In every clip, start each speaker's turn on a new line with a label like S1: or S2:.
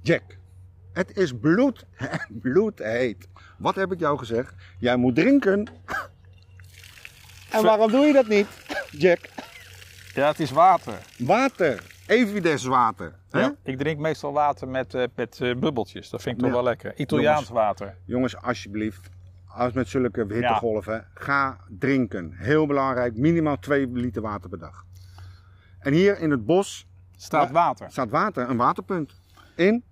S1: Jack, het is bloed, bloedheet. Wat heb ik jou gezegd? Jij moet drinken. En waarom doe je dat niet, Jack?
S2: Ja, het is water.
S1: Water, evides water. Hè?
S2: Ja, ik drink meestal water met, eh, met eh, bubbeltjes. Dat vind ik toch
S1: Ja.
S2: wel lekker. Italiaans water.
S1: Jongens, alsjeblieft, als met zulke hittegolven, ga drinken. Heel belangrijk, minimaal 2 liter water per dag. En hier in het bos
S2: Staat
S1: Ja.
S2: water.
S1: staat water, een waterpunt. In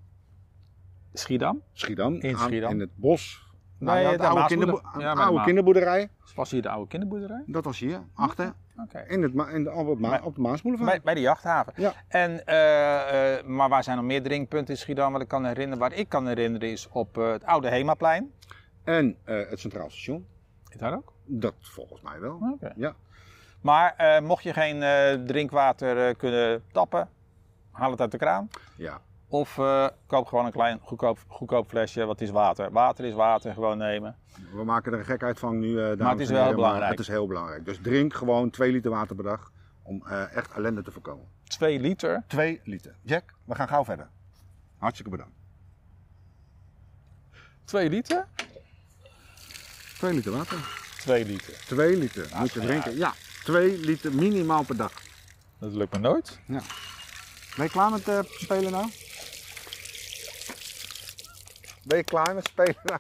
S2: Schiedam?
S1: Schiedam,
S2: In
S1: aan-
S2: Schiedam.
S1: in het bos.
S2: Nee,
S1: Nou ja, de
S2: daarnaast
S1: oude,
S2: moet
S1: kinderbo-
S2: er- ja, bij de
S1: oude
S2: ma-
S1: kinderboerderij,
S2: Was hier de oude kinderboerderij?
S1: dat was hier, achter,
S2: Oké.
S1: in het, ma- in de, op, het ma-
S2: Bij-
S1: op de Maasmoelenvaart.
S2: Bij, bij de jachthaven.
S1: Ja.
S2: En, eh, eh, maar waar zijn nog meer drinkpunten in Schiedam? Wat ik kan herinneren, waar ik kan herinneren is op eh, het oude Hemaplein.
S1: En eh, het Centraal Station,
S2: Is daar ook?
S1: dat volgens mij wel.
S2: Oké.
S1: Ja.
S2: Maar eh, mocht je geen eh, drinkwater eh, kunnen tappen, haal het uit de kraan.
S1: Ja,
S2: Of eh, koop gewoon een klein goedkoop, goedkoop flesje, wat is water. Water is water, gewoon nemen.
S1: we maken er een gekheid van nu, eh dames
S2: het is
S1: en
S2: wel
S1: heren,
S2: belangrijk.
S1: het is heel belangrijk. Dus drink gewoon 2 liter water per dag om eh, echt ellende te voorkomen.
S2: 2 liter.
S1: 2 liter. Jack, we gaan gauw verder. Hartstikke bedankt.
S2: 2 liter?
S1: 2 liter water.
S2: 2 liter.
S1: 2 liter moet je drinken. Ja, 2 liter minimaal per dag.
S2: Dat lukt me nooit.
S1: Ben je klaar met eh, spelen nou? Ben je klaar met spelen nou?